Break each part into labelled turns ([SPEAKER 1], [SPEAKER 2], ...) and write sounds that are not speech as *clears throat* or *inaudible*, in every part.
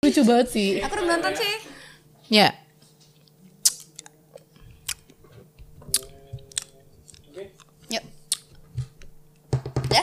[SPEAKER 1] lucu banget sih.
[SPEAKER 2] Aku udah nonton sih.
[SPEAKER 1] Ya.
[SPEAKER 2] Yuk. Ya.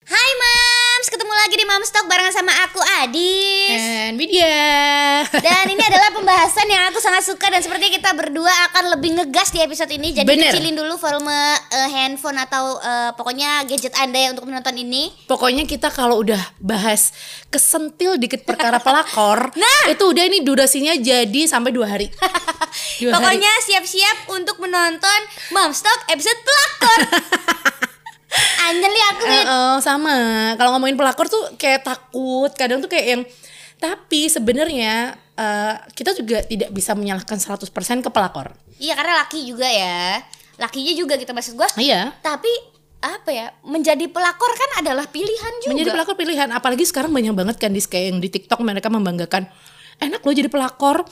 [SPEAKER 2] Hai Mams, ketemu lagi di Mams Talk barengan sama aku Adis.
[SPEAKER 1] And Widya.
[SPEAKER 2] Dan
[SPEAKER 1] *laughs*
[SPEAKER 2] ini adalah pembahasan yang aku sangat suka dan sepertinya kita berdua akan lebih ngegas di episode ini. Jadi
[SPEAKER 1] Bener.
[SPEAKER 2] kecilin dulu volume eh, handphone atau eh, pokoknya gadget Anda ya untuk menonton ini.
[SPEAKER 1] Pokoknya kita kalau udah bahas kesentil dikit perkara *laughs* pelakor,
[SPEAKER 2] Nah.
[SPEAKER 1] itu udah ini durasinya jadi sampai dua hari. Dua hari.
[SPEAKER 2] pokoknya siap-siap untuk menonton Momstock episode
[SPEAKER 1] *laughs*
[SPEAKER 2] pelakor. Anjali aku
[SPEAKER 1] Eh,
[SPEAKER 2] Mit.
[SPEAKER 1] eh, sama. Kalau ngomongin pelakor tuh kayak takut, kadang tuh kayak yang tapi sebenarnya eh, kita juga tidak bisa menyalahkan 100% ke pelakor.
[SPEAKER 2] Iya karena laki juga ya. Lakinya juga kita maksud gua.
[SPEAKER 1] Iya.
[SPEAKER 2] Tapi apa ya? Menjadi pelakor kan adalah pilihan juga.
[SPEAKER 1] Menjadi pelakor pilihan, apalagi sekarang banyak banget kan di kayak yang di TikTok mereka membanggakan enak loh jadi pelakor.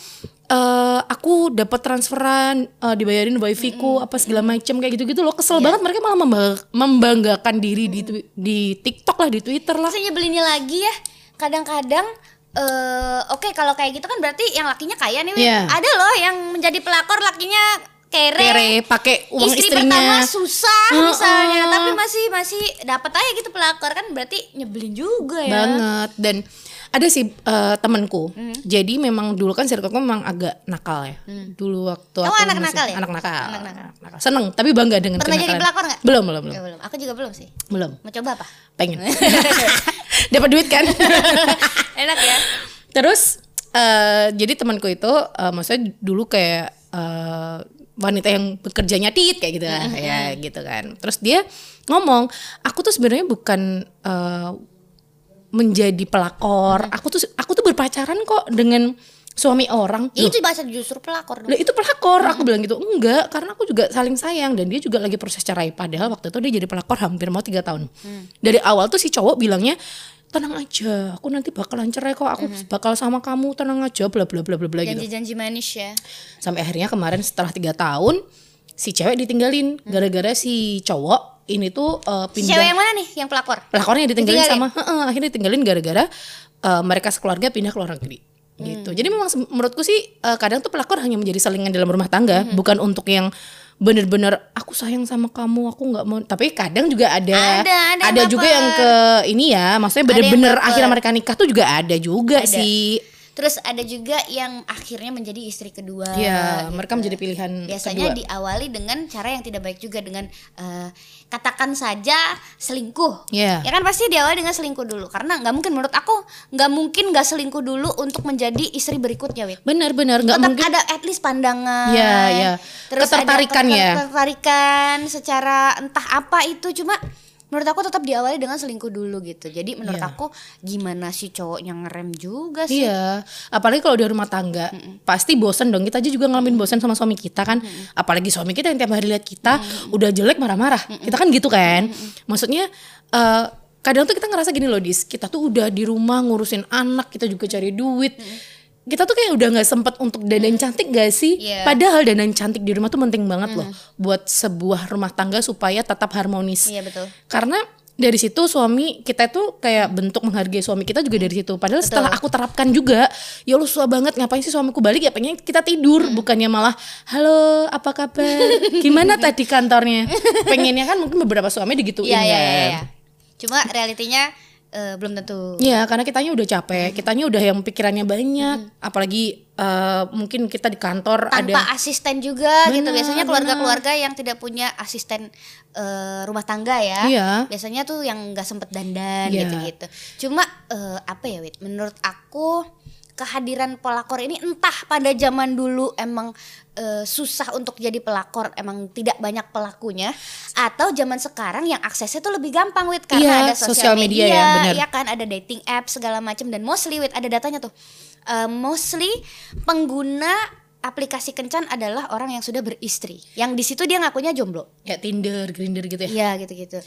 [SPEAKER 1] Eh, aku dapat transferan, eh, dibayarin wifi ku apa segala macem kayak gitu-gitu loh. Kesel
[SPEAKER 2] Iya.
[SPEAKER 1] banget mereka malah membangga- membanggakan diri di twi- di TikTok lah, di Twitter lah.
[SPEAKER 2] Terus nyebelinnya lagi ya kadang-kadang eh oke kalau kayak gitu kan berarti yang lakinya kaya nih Wi.
[SPEAKER 1] Iya.
[SPEAKER 2] ada loh yang menjadi pelakor lakinya kere,
[SPEAKER 1] Kere pakai uang
[SPEAKER 2] istri
[SPEAKER 1] istrinya.
[SPEAKER 2] pertama susah
[SPEAKER 1] Heeh.
[SPEAKER 2] misalnya tapi masih masih dapat aja gitu pelakor kan berarti nyebelin juga ya
[SPEAKER 1] banget dan ada sih eh, temanku
[SPEAKER 2] Mm.
[SPEAKER 1] jadi memang dulu kan circleku memang agak nakal ya dulu waktu
[SPEAKER 2] Kamu
[SPEAKER 1] aku
[SPEAKER 2] anak nakal ya?
[SPEAKER 1] anak nakal
[SPEAKER 2] Anak nakal.
[SPEAKER 1] anak nakal. seneng tapi bangga dengan
[SPEAKER 2] Pernah jadi
[SPEAKER 1] kenakalan.
[SPEAKER 2] pelakor nggak?
[SPEAKER 1] belum belum belum
[SPEAKER 2] Ya, belum aku juga belum sih
[SPEAKER 1] belum
[SPEAKER 2] mau
[SPEAKER 1] *laughs*
[SPEAKER 2] coba apa
[SPEAKER 1] pengen dapat duit kan
[SPEAKER 2] enak ya
[SPEAKER 1] terus eh, jadi temanku itu eh, maksudnya dulu kayak eh, wanita yang bekerjanya tit kayak gitu lah ya gitu kan terus dia ngomong aku tuh sebenarnya bukan eh, menjadi pelakor aku tuh aku tuh berpacaran kok dengan suami orang Loh,
[SPEAKER 2] itu bahasa justru pelakor dong
[SPEAKER 1] lah itu pelakor aku bilang gitu enggak karena aku juga saling sayang dan dia juga lagi proses cerai padahal waktu itu dia jadi pelakor hampir mau tiga tahun
[SPEAKER 2] Hmm.
[SPEAKER 1] dari awal tuh si cowok bilangnya tenang aja aku nanti bakalan cerai kok aku
[SPEAKER 2] Hmm.
[SPEAKER 1] bakal sama kamu tenang aja bla bla bla bla bla gitu
[SPEAKER 2] janji-janji manis ya
[SPEAKER 1] sampai akhirnya kemarin setelah tiga tahun si cewek ditinggalin gara-gara si cowok ini tuh eh,
[SPEAKER 2] Hmm. Si
[SPEAKER 1] pindah
[SPEAKER 2] cewek yang mana nih yang pelakor
[SPEAKER 1] pelakornya ditinggalin
[SPEAKER 2] Ditinggalin?
[SPEAKER 1] sama heeh, akhirnya ditinggalin gara-gara eh, mereka sekeluarga pindah ke luar negeri
[SPEAKER 2] Hmm.
[SPEAKER 1] gitu jadi memang se- menurutku sih eh, kadang tuh pelakor hanya menjadi selingan dalam rumah tangga
[SPEAKER 2] Hmm.
[SPEAKER 1] bukan untuk yang bener-bener aku sayang sama kamu aku nggak mau tapi kadang juga ada
[SPEAKER 2] Ada, ada yang
[SPEAKER 1] juga
[SPEAKER 2] baper.
[SPEAKER 1] yang ke ini ya maksudnya
[SPEAKER 2] yang
[SPEAKER 1] bener-bener
[SPEAKER 2] baper.
[SPEAKER 1] akhirnya mereka nikah tuh juga ada juga
[SPEAKER 2] Ada.
[SPEAKER 1] sih
[SPEAKER 2] terus ada juga yang akhirnya menjadi istri kedua
[SPEAKER 1] ya mereka menjadi pilihan
[SPEAKER 2] Ah, gitu. biasanya
[SPEAKER 1] kedua.
[SPEAKER 2] diawali dengan cara yang tidak baik juga dengan eh, katakan saja selingkuh
[SPEAKER 1] Iya.
[SPEAKER 2] ya kan pasti diawali dengan selingkuh dulu karena nggak mungkin menurut aku nggak mungkin nggak selingkuh dulu untuk menjadi istri berikutnya Wit
[SPEAKER 1] benar-benar nggak
[SPEAKER 2] tetap
[SPEAKER 1] mungkin
[SPEAKER 2] ada at least pandangan
[SPEAKER 1] Iya, iya.
[SPEAKER 2] terus
[SPEAKER 1] Ketertarikan
[SPEAKER 2] ada
[SPEAKER 1] ya.
[SPEAKER 2] ketertarikan secara entah apa itu cuma menurut aku tetap diawali dengan selingkuh dulu gitu jadi menurut
[SPEAKER 1] Iya.
[SPEAKER 2] aku gimana sih cowoknya ngerem juga sih
[SPEAKER 1] Iya, apalagi kalau udah rumah tangga, pasti bosen dong. Kita aja juga ngalamin bosen sama suami kita kan. Apalagi suami kita yang tiap hari lihat kita udah jelek marah-marah. Kita kan gitu kan. Maksudnya eh, kadang tuh kita ngerasa gini loh, Dis. Kita tuh udah di rumah ngurusin anak, kita juga cari duit. Kita tuh kayak udah nggak sempat untuk dandan cantik gak sih?
[SPEAKER 2] Iya.
[SPEAKER 1] Padahal dandan cantik di rumah tuh penting banget loh buat sebuah rumah tangga supaya tetap harmonis
[SPEAKER 2] iya betul
[SPEAKER 1] karena dari situ suami kita tuh kayak bentuk menghargai suami kita juga dari situ. Padahal setelah aku terapkan juga, ya lu susah banget ngapain sih suamiku balik ya pengen kita tidur
[SPEAKER 2] Hmm.
[SPEAKER 1] bukannya malah halo apa kabar gimana tadi kantornya pengennya kan mungkin beberapa suami digituin
[SPEAKER 2] Iya iya
[SPEAKER 1] kan.
[SPEAKER 2] iya. iya. Cuma realitinya eh, belum tentu.
[SPEAKER 1] Iya, karena kitanya udah capek, kitanya udah yang pikirannya banyak, apalagi eh, mungkin kita di kantor ada
[SPEAKER 2] Hmm. Tanpa asisten juga gitu.
[SPEAKER 1] Benar,
[SPEAKER 2] Biasanya keluarga-keluarga yang tidak punya asisten eh, rumah tangga ya.
[SPEAKER 1] Iya.
[SPEAKER 2] Biasanya tuh yang nggak sempet dandan
[SPEAKER 1] Iya.
[SPEAKER 2] gitu-gitu. Cuma eh, apa ya, Wit? Menurut aku kehadiran pelakor ini entah pada zaman dulu emang eh, susah untuk jadi pelakor, emang tidak banyak pelakunya atau zaman sekarang yang aksesnya tuh lebih gampang, Wit,
[SPEAKER 1] Iya,
[SPEAKER 2] karena ada sosial
[SPEAKER 1] sosial
[SPEAKER 2] media,
[SPEAKER 1] media ya, benar.
[SPEAKER 2] ya kan ada dating app segala macam dan mostly wait ada datanya tuh Eh, mostly pengguna aplikasi kencan adalah orang yang sudah beristri yang di situ dia ngakunya jomblo
[SPEAKER 1] kayak Tinder, Grinder gitu ya.
[SPEAKER 2] Iya gitu gitu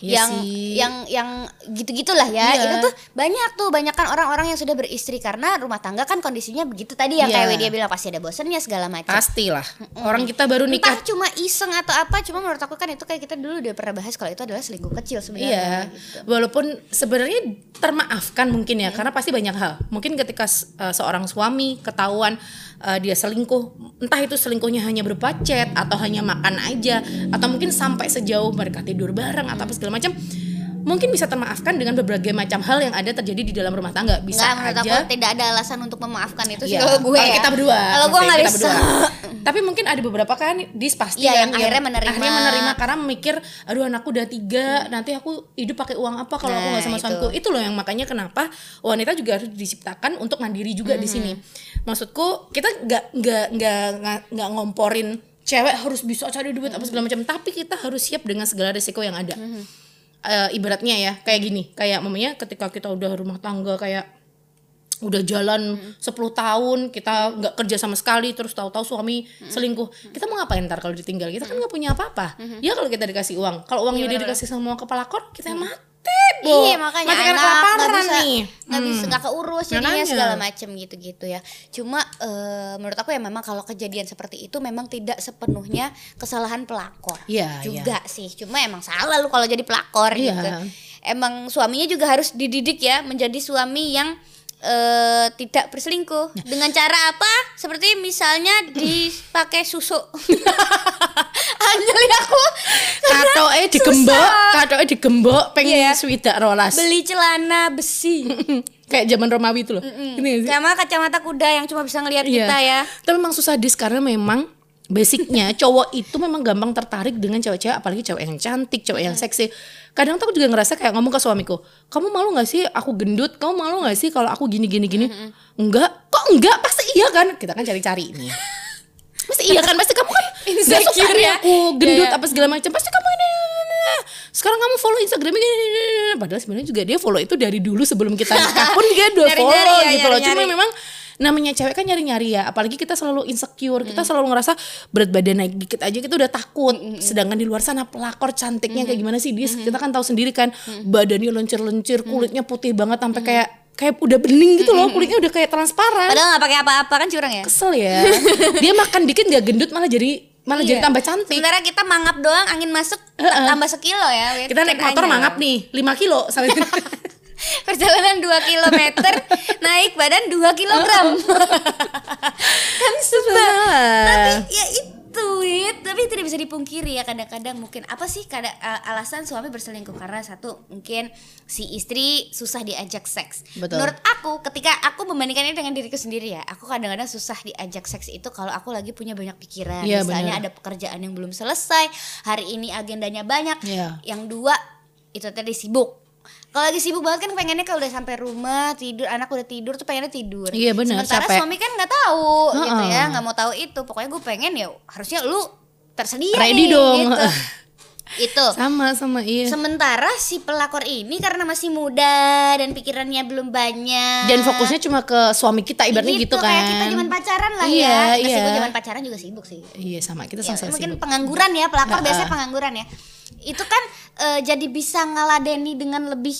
[SPEAKER 1] Iya
[SPEAKER 2] yang,
[SPEAKER 1] sih.
[SPEAKER 2] yang yang gitu-gitulah
[SPEAKER 1] Iya.
[SPEAKER 2] ya. Itu tuh banyak tuh banyak kan orang-orang yang sudah beristri karena rumah tangga kan kondisinya begitu tadi yang
[SPEAKER 1] Iya.
[SPEAKER 2] kayak dia bilang pasti ada bosennya segala macam.
[SPEAKER 1] Pastilah. Orang kita baru
[SPEAKER 2] Entah
[SPEAKER 1] nikah.
[SPEAKER 2] cuma iseng atau apa, cuma menurut aku kan itu kayak kita dulu udah pernah bahas kalau itu adalah selingkuh kecil sebenarnya. Gitu.
[SPEAKER 1] Iya, walaupun sebenarnya termaafkan mungkin ya,
[SPEAKER 2] Iya.
[SPEAKER 1] karena pasti banyak hal. Mungkin ketika s- eh, seorang suami ketahuan eh, dia selingkuh, entah itu selingkuhnya hanya berpacet atau hanya makan aja, atau mungkin sampai sejauh mereka tidur bareng atau apa segala macam, mungkin bisa termaafkan dengan berbagai macam hal yang ada terjadi di dalam rumah tangga. Bisa
[SPEAKER 2] Nggak, menurut
[SPEAKER 1] aja.
[SPEAKER 2] aku tidak ada alasan untuk memaafkan itu sih
[SPEAKER 1] Iya,
[SPEAKER 2] kalau gue ya.
[SPEAKER 1] kita berdua.
[SPEAKER 2] Kalau gue
[SPEAKER 1] maksudnya
[SPEAKER 2] nggak
[SPEAKER 1] kita
[SPEAKER 2] bisa.
[SPEAKER 1] berdua. Tapi mungkin ada beberapa kan dis pasti
[SPEAKER 2] Iya, yang akhirnya menerima.
[SPEAKER 1] akhirnya menerima karena mikir aduh anakku udah tiga nanti aku hidup pakai uang apa kalau aku
[SPEAKER 2] Nah,
[SPEAKER 1] nggak sama
[SPEAKER 2] itu.
[SPEAKER 1] suamiku itu loh yang makanya kenapa wanita juga harus diciptakan untuk mandiri juga di sini
[SPEAKER 2] Hmm.
[SPEAKER 1] maksudku kita nggak nggak nggak nggak- nggak ngomporin cewek harus bisa cari duit apa segala macam tapi kita harus siap dengan segala risiko yang ada
[SPEAKER 2] Hmm.
[SPEAKER 1] Eh, ibaratnya ya kayak gini kayak mamanya ketika kita udah rumah tangga kayak udah jalan 10 tahun kita nggak kerja sama sekali terus tahu-tahu suami selingkuh kita mau ngapain ntar kalau ditinggal kita kan nggak punya apa-apa ya kalau kita dikasih uang kalau uangnya dia dikasih sama kepala kor kita yang mati Bu.
[SPEAKER 2] Iya makanya
[SPEAKER 1] mati karena
[SPEAKER 2] anak nggak
[SPEAKER 1] kelaparan
[SPEAKER 2] bisa-
[SPEAKER 1] nih Hmm.
[SPEAKER 2] nggak bisa nggak keurus jadinya
[SPEAKER 1] Makanya.
[SPEAKER 2] segala macem gitu-gitu ya. Cuma eh, menurut aku ya memang kalau kejadian seperti itu memang tidak sepenuhnya kesalahan pelakor
[SPEAKER 1] Iya,
[SPEAKER 2] juga sih. Cuma emang salah lu kalau jadi pelakor
[SPEAKER 1] Iya.
[SPEAKER 2] gitu. Emang suaminya juga harus dididik ya menjadi suami yang eh, tidak berselingkuh
[SPEAKER 1] Nah.
[SPEAKER 2] dengan cara apa? Seperti
[SPEAKER 1] *clears throat*
[SPEAKER 2] misalnya dipakai susu. *laughs* Anjali aku *laughs*
[SPEAKER 1] kato eh digembok kato eh digembok pengen
[SPEAKER 2] Iya.
[SPEAKER 1] swidak rolas Hmm,
[SPEAKER 2] beli celana besi.
[SPEAKER 1] kayak zaman Romawi itu loh Gini nggak Iya sih?
[SPEAKER 2] Sama kacamata kuda yang cuma bisa ngelihat
[SPEAKER 1] Iya.
[SPEAKER 2] kita ya.
[SPEAKER 1] Tapi memang susah dis karena memang basicnya *laughs* cowok itu memang gampang tertarik dengan cewek-cewek apalagi cewek yang cantik, cewek
[SPEAKER 2] Iya.
[SPEAKER 1] yang seksi. Kadang tuh aku juga ngerasa kayak ngomong ke suamiku, "Kamu malu gak sih aku gendut? Kamu malu gak sih kalau aku gini gini gini?" "Enggak." "Kok enggak? Pasti iya kan?" Kita kan cari-cari
[SPEAKER 2] *laughs*
[SPEAKER 1] ini. Pasti iya kan? Pasti kamu kan gak suka
[SPEAKER 2] Insecure
[SPEAKER 1] nih
[SPEAKER 2] ya.
[SPEAKER 1] aku gendut
[SPEAKER 2] Iya, iya.
[SPEAKER 1] apa segala macam. Pasti kamu ini sekarang kamu follow Instagramnya gini, gini, gini, gini. padahal sebenarnya juga dia follow itu dari dulu sebelum kita nikah pun dia udah
[SPEAKER 2] Nyari-nyari
[SPEAKER 1] follow
[SPEAKER 2] ya,
[SPEAKER 1] gitu loh. Cuma
[SPEAKER 2] nyari-nyari.
[SPEAKER 1] memang namanya cewek kan nyari-nyari ya apalagi kita selalu insecure kita selalu ngerasa berat badan naik dikit aja kita udah takut sedangkan di luar sana pelakor cantiknya kayak gimana sih dis kita kan tahu sendiri kan badannya lencer-lencer kulitnya putih banget sampai kayak kayak udah bening gitu loh kulitnya udah kayak transparan
[SPEAKER 2] Padahal nggak pakai apa-apa kan curang ya.
[SPEAKER 1] kesel ya dia makan dikit nggak gendut malah jadi malah jadi
[SPEAKER 2] Iya.
[SPEAKER 1] tambah cantik
[SPEAKER 2] Sementara kita mangap doang, angin masuk ta- tambah sekilo ya. Wit.
[SPEAKER 1] kita naik
[SPEAKER 2] Cek
[SPEAKER 1] motor
[SPEAKER 2] aja.
[SPEAKER 1] mangap nih 5 kilo sampai
[SPEAKER 2] *laughs* Kan Perjalanan 2 km, naik badan 2 kilogram.
[SPEAKER 1] *laughs*
[SPEAKER 2] kan susah. Tapi
[SPEAKER 1] Iya.
[SPEAKER 2] ya itu, Wit. Tapi tidak bisa dipungkiri ya kadang-kadang mungkin apa sih kada- a- alasan suami berselingkuh karena satu mungkin si istri susah diajak seks.
[SPEAKER 1] Betul.
[SPEAKER 2] Menurut aku ketika aku membandingkannya dengan diriku sendiri ya, aku kadang-kadang susah diajak seks itu kalau aku lagi punya banyak pikiran.
[SPEAKER 1] Iya,
[SPEAKER 2] Misalnya
[SPEAKER 1] benar.
[SPEAKER 2] ada pekerjaan yang belum selesai, hari ini agendanya banyak.
[SPEAKER 1] Iya.
[SPEAKER 2] Yang dua itu tadi sibuk. Kalau lagi sibuk banget kan pengennya kalau udah sampai rumah tidur anak udah tidur tuh pengennya tidur.
[SPEAKER 1] Iya, benar,
[SPEAKER 2] Sementara
[SPEAKER 1] capek.
[SPEAKER 2] suami kan nggak tahu gitu
[SPEAKER 1] Heeh.
[SPEAKER 2] ya nggak mau tahu itu. Pokoknya gue pengen ya harusnya lu tersedia
[SPEAKER 1] Ready
[SPEAKER 2] nih,
[SPEAKER 1] dong. *laughs*
[SPEAKER 2] gitu. itu.
[SPEAKER 1] sama sama iya
[SPEAKER 2] Sementara si pelakor ini karena masih muda dan pikirannya belum banyak.
[SPEAKER 1] dan fokusnya cuma ke suami kita ibaratnya gitu, kan
[SPEAKER 2] kayak kita zaman pacaran lah
[SPEAKER 1] Iya,
[SPEAKER 2] ya. Masih
[SPEAKER 1] iya.
[SPEAKER 2] gue zaman pacaran juga sibuk sih.
[SPEAKER 1] Iya sama kita
[SPEAKER 2] Ya,
[SPEAKER 1] sama-sama
[SPEAKER 2] mungkin
[SPEAKER 1] sibuk.
[SPEAKER 2] pengangguran ya
[SPEAKER 1] Nah,
[SPEAKER 2] pelakor biasanya
[SPEAKER 1] ah.
[SPEAKER 2] pengangguran ya itu kan eh, jadi bisa ngeladeni dengan lebih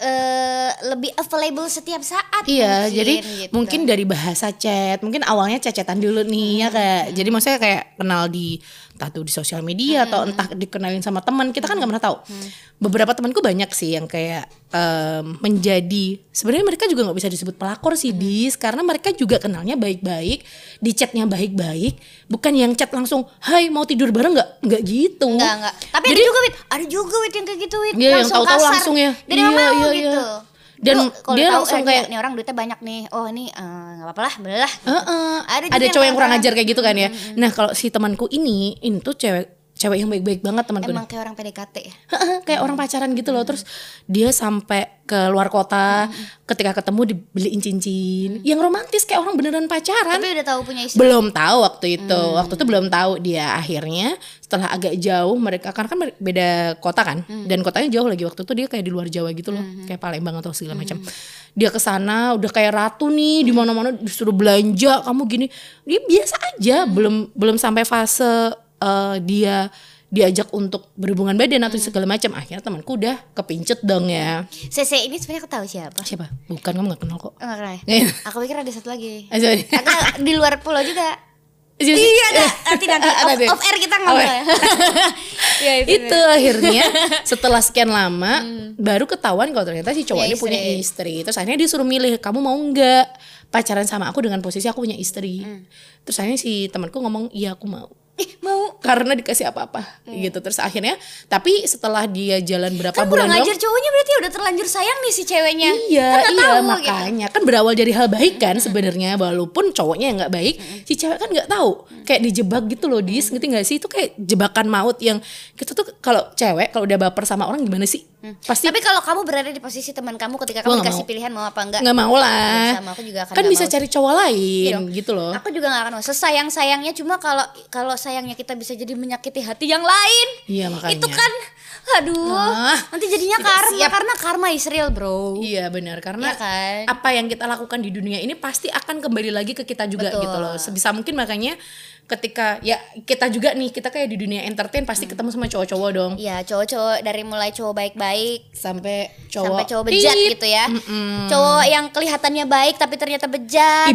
[SPEAKER 2] eh, lebih available setiap saat
[SPEAKER 1] Iya,
[SPEAKER 2] mungkin,
[SPEAKER 1] jadi
[SPEAKER 2] gitu.
[SPEAKER 1] mungkin dari bahasa chat, mungkin awalnya cecetan dulu nih ya kayak. Jadi maksudnya kayak kenal di entah tuh di sosial media atau entah dikenalin sama teman, kita kan nggak pernah tahu. Beberapa temanku banyak sih yang kayak em, menjadi sebenarnya mereka juga nggak bisa disebut pelakor sih dis karena mereka juga kenalnya baik-baik, di chatnya baik-baik, bukan yang chat langsung, "Hai, mau tidur bareng nggak?" nggak gitu.
[SPEAKER 2] Enggak, enggak. Tapi
[SPEAKER 1] Jadi-
[SPEAKER 2] ada juga wit, ada juga wit yang kayak gitu wit.
[SPEAKER 1] Iya, yang tahu-tahu
[SPEAKER 2] kasar.
[SPEAKER 1] langsung ya.
[SPEAKER 2] Dari
[SPEAKER 1] Iya,
[SPEAKER 2] mana
[SPEAKER 1] iya,
[SPEAKER 2] gitu.
[SPEAKER 1] iya. Dan
[SPEAKER 2] Lu kalau
[SPEAKER 1] dia
[SPEAKER 2] tahu,
[SPEAKER 1] langsung
[SPEAKER 2] eh,
[SPEAKER 1] kayak-
[SPEAKER 2] nih orang duitnya banyak nih. Oh, ini eh, nggak apa-apa lah, Gitu. belah.
[SPEAKER 1] Heeh.
[SPEAKER 2] Ada
[SPEAKER 1] Ada,
[SPEAKER 2] juga yang
[SPEAKER 1] cowok yang kurang
[SPEAKER 2] kurang
[SPEAKER 1] ajar kayak gitu kan ya. Nah, kalau si temanku ini, ini tuh cewek cewek yang baik-baik banget temanku.
[SPEAKER 2] Emang kayak orang PDKT ya.
[SPEAKER 1] Heeh, kayak orang pacaran gitu loh. Terus dia sampai ke luar kota, ketika ketemu dibeliin cincin. Yang romantis kayak orang beneran pacaran.
[SPEAKER 2] Tapi udah tahu punya istri.
[SPEAKER 1] belum tahu waktu itu. Waktu itu belum tahu dia akhirnya setelah agak jauh mereka karena kan mer- beda kota kan dan kotanya jauh lagi waktu itu dia kayak di luar Jawa gitu loh, kayak Palembang atau segala macam. Dia ke sana udah kayak ratu nih di mana-mana disuruh Hmm. belanja kamu gini. Dia biasa aja, belum belum sampai fase eh, dia diajak untuk berhubungan badan atau segala macam akhirnya temanku udah kepincet dong ya
[SPEAKER 2] CC ini sebenarnya aku tahu siapa.
[SPEAKER 1] siapa bukan kamu nggak kenal kok
[SPEAKER 2] Enggak kenal. ya?
[SPEAKER 1] Iya.
[SPEAKER 2] Aku pikir ada satu lagi.
[SPEAKER 1] Ah, sorry.
[SPEAKER 2] Atau di luar pulau juga.
[SPEAKER 1] *laughs* Iya,
[SPEAKER 2] Iya, ada. nanti nanti
[SPEAKER 1] Ah, nanti.
[SPEAKER 2] off, off air kita
[SPEAKER 1] Oke.
[SPEAKER 2] ngobrol ya. *laughs* Iya,
[SPEAKER 1] itu
[SPEAKER 2] *laughs*
[SPEAKER 1] akhirnya setelah sekian lama baru ketahuan kalau ternyata si cowoknya
[SPEAKER 2] Punya
[SPEAKER 1] punya
[SPEAKER 2] Hmm. Iya, istri.
[SPEAKER 1] istri terus akhirnya dia suruh milih kamu mau nggak pacaran sama aku dengan posisi aku punya istri
[SPEAKER 2] Hmm.
[SPEAKER 1] terus akhirnya si temanku ngomong iya aku mau
[SPEAKER 2] Ih, mau.
[SPEAKER 1] karena dikasih apa-apa gitu terus akhirnya tapi setelah dia jalan berapa
[SPEAKER 2] Iya. Kan
[SPEAKER 1] bulan
[SPEAKER 2] kurang
[SPEAKER 1] doang-
[SPEAKER 2] ajar cowoknya berarti udah terlanjur sayang nih si ceweknya.
[SPEAKER 1] Iya,
[SPEAKER 2] Kan nggak
[SPEAKER 1] iya
[SPEAKER 2] tahu, gitu.
[SPEAKER 1] makanya kan berawal dari hal baik kan sebenarnya walaupun cowoknya yang nggak baik, si cewek kan nggak tahu. Kayak dijebak gitu loh, dis ngerti nggak sih? Itu kayak jebakan maut yang kita tuh kalau cewek kalau udah baper sama orang gimana sih? Pasti
[SPEAKER 2] Mm. Tapi kalau kamu berada di posisi teman kamu ketika
[SPEAKER 1] Gua
[SPEAKER 2] kamu
[SPEAKER 1] nggak
[SPEAKER 2] dikasih
[SPEAKER 1] mau.
[SPEAKER 2] pilihan mau apa enggak?
[SPEAKER 1] nggak mau
[SPEAKER 2] Nggak
[SPEAKER 1] lah.
[SPEAKER 2] bisa, sama aku juga akan
[SPEAKER 1] Kan
[SPEAKER 2] nggak
[SPEAKER 1] bisa
[SPEAKER 2] mau.
[SPEAKER 1] cari cowok lain
[SPEAKER 2] Iya dong.
[SPEAKER 1] gitu loh.
[SPEAKER 2] Aku juga gak akan mau. Sesayang sayangnya cuma kalau kalau sayangnya kita bisa jadi menyakiti hati yang lain.
[SPEAKER 1] Iya, makanya.
[SPEAKER 2] Itu kan, aduh,
[SPEAKER 1] Ah,
[SPEAKER 2] nanti jadinya
[SPEAKER 1] tidak
[SPEAKER 2] karma
[SPEAKER 1] siap.
[SPEAKER 2] karena karma is real bro.
[SPEAKER 1] Iya benar karena
[SPEAKER 2] Iya kan?
[SPEAKER 1] apa yang kita lakukan di dunia ini pasti akan kembali lagi ke kita juga
[SPEAKER 2] Betul.
[SPEAKER 1] gitu loh. Sebisa mungkin makanya ketika ya kita juga nih kita kayak di dunia entertain pasti
[SPEAKER 2] Mm.
[SPEAKER 1] ketemu sama cowok-cowok dong.
[SPEAKER 2] Iya cowok-cowok dari mulai cowok baik-baik
[SPEAKER 1] sampai cowok
[SPEAKER 2] sampai cowok bejat
[SPEAKER 1] Tit.
[SPEAKER 2] gitu ya.
[SPEAKER 1] Mm-mm.
[SPEAKER 2] Cowok yang kelihatannya baik tapi ternyata bejat.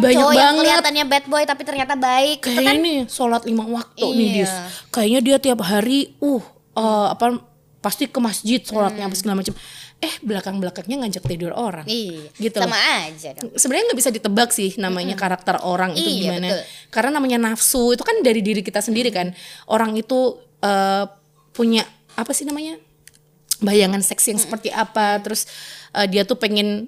[SPEAKER 1] Ih, banyak
[SPEAKER 2] cowok yang
[SPEAKER 1] banget.
[SPEAKER 2] kelihatannya bad boy tapi ternyata baik. Itu
[SPEAKER 1] kayaknya
[SPEAKER 2] kan
[SPEAKER 1] nih sholat lima waktu nih
[SPEAKER 2] Iya.
[SPEAKER 1] dis kayaknya dia tiap hari uh eh, apa pasti ke masjid
[SPEAKER 2] Hmm.
[SPEAKER 1] sholatnya apa segala macam eh belakang belakangnya ngajak tidur orang
[SPEAKER 2] Iya,
[SPEAKER 1] gitu
[SPEAKER 2] sama
[SPEAKER 1] loh.
[SPEAKER 2] aja dong.
[SPEAKER 1] sebenarnya nggak bisa ditebak sih namanya karakter orang itu
[SPEAKER 2] Iya,
[SPEAKER 1] gimana
[SPEAKER 2] betul.
[SPEAKER 1] karena namanya nafsu itu kan dari diri kita sendiri kan orang itu eh, punya apa sih namanya bayangan seksi yang seperti apa terus eh, dia tuh pengen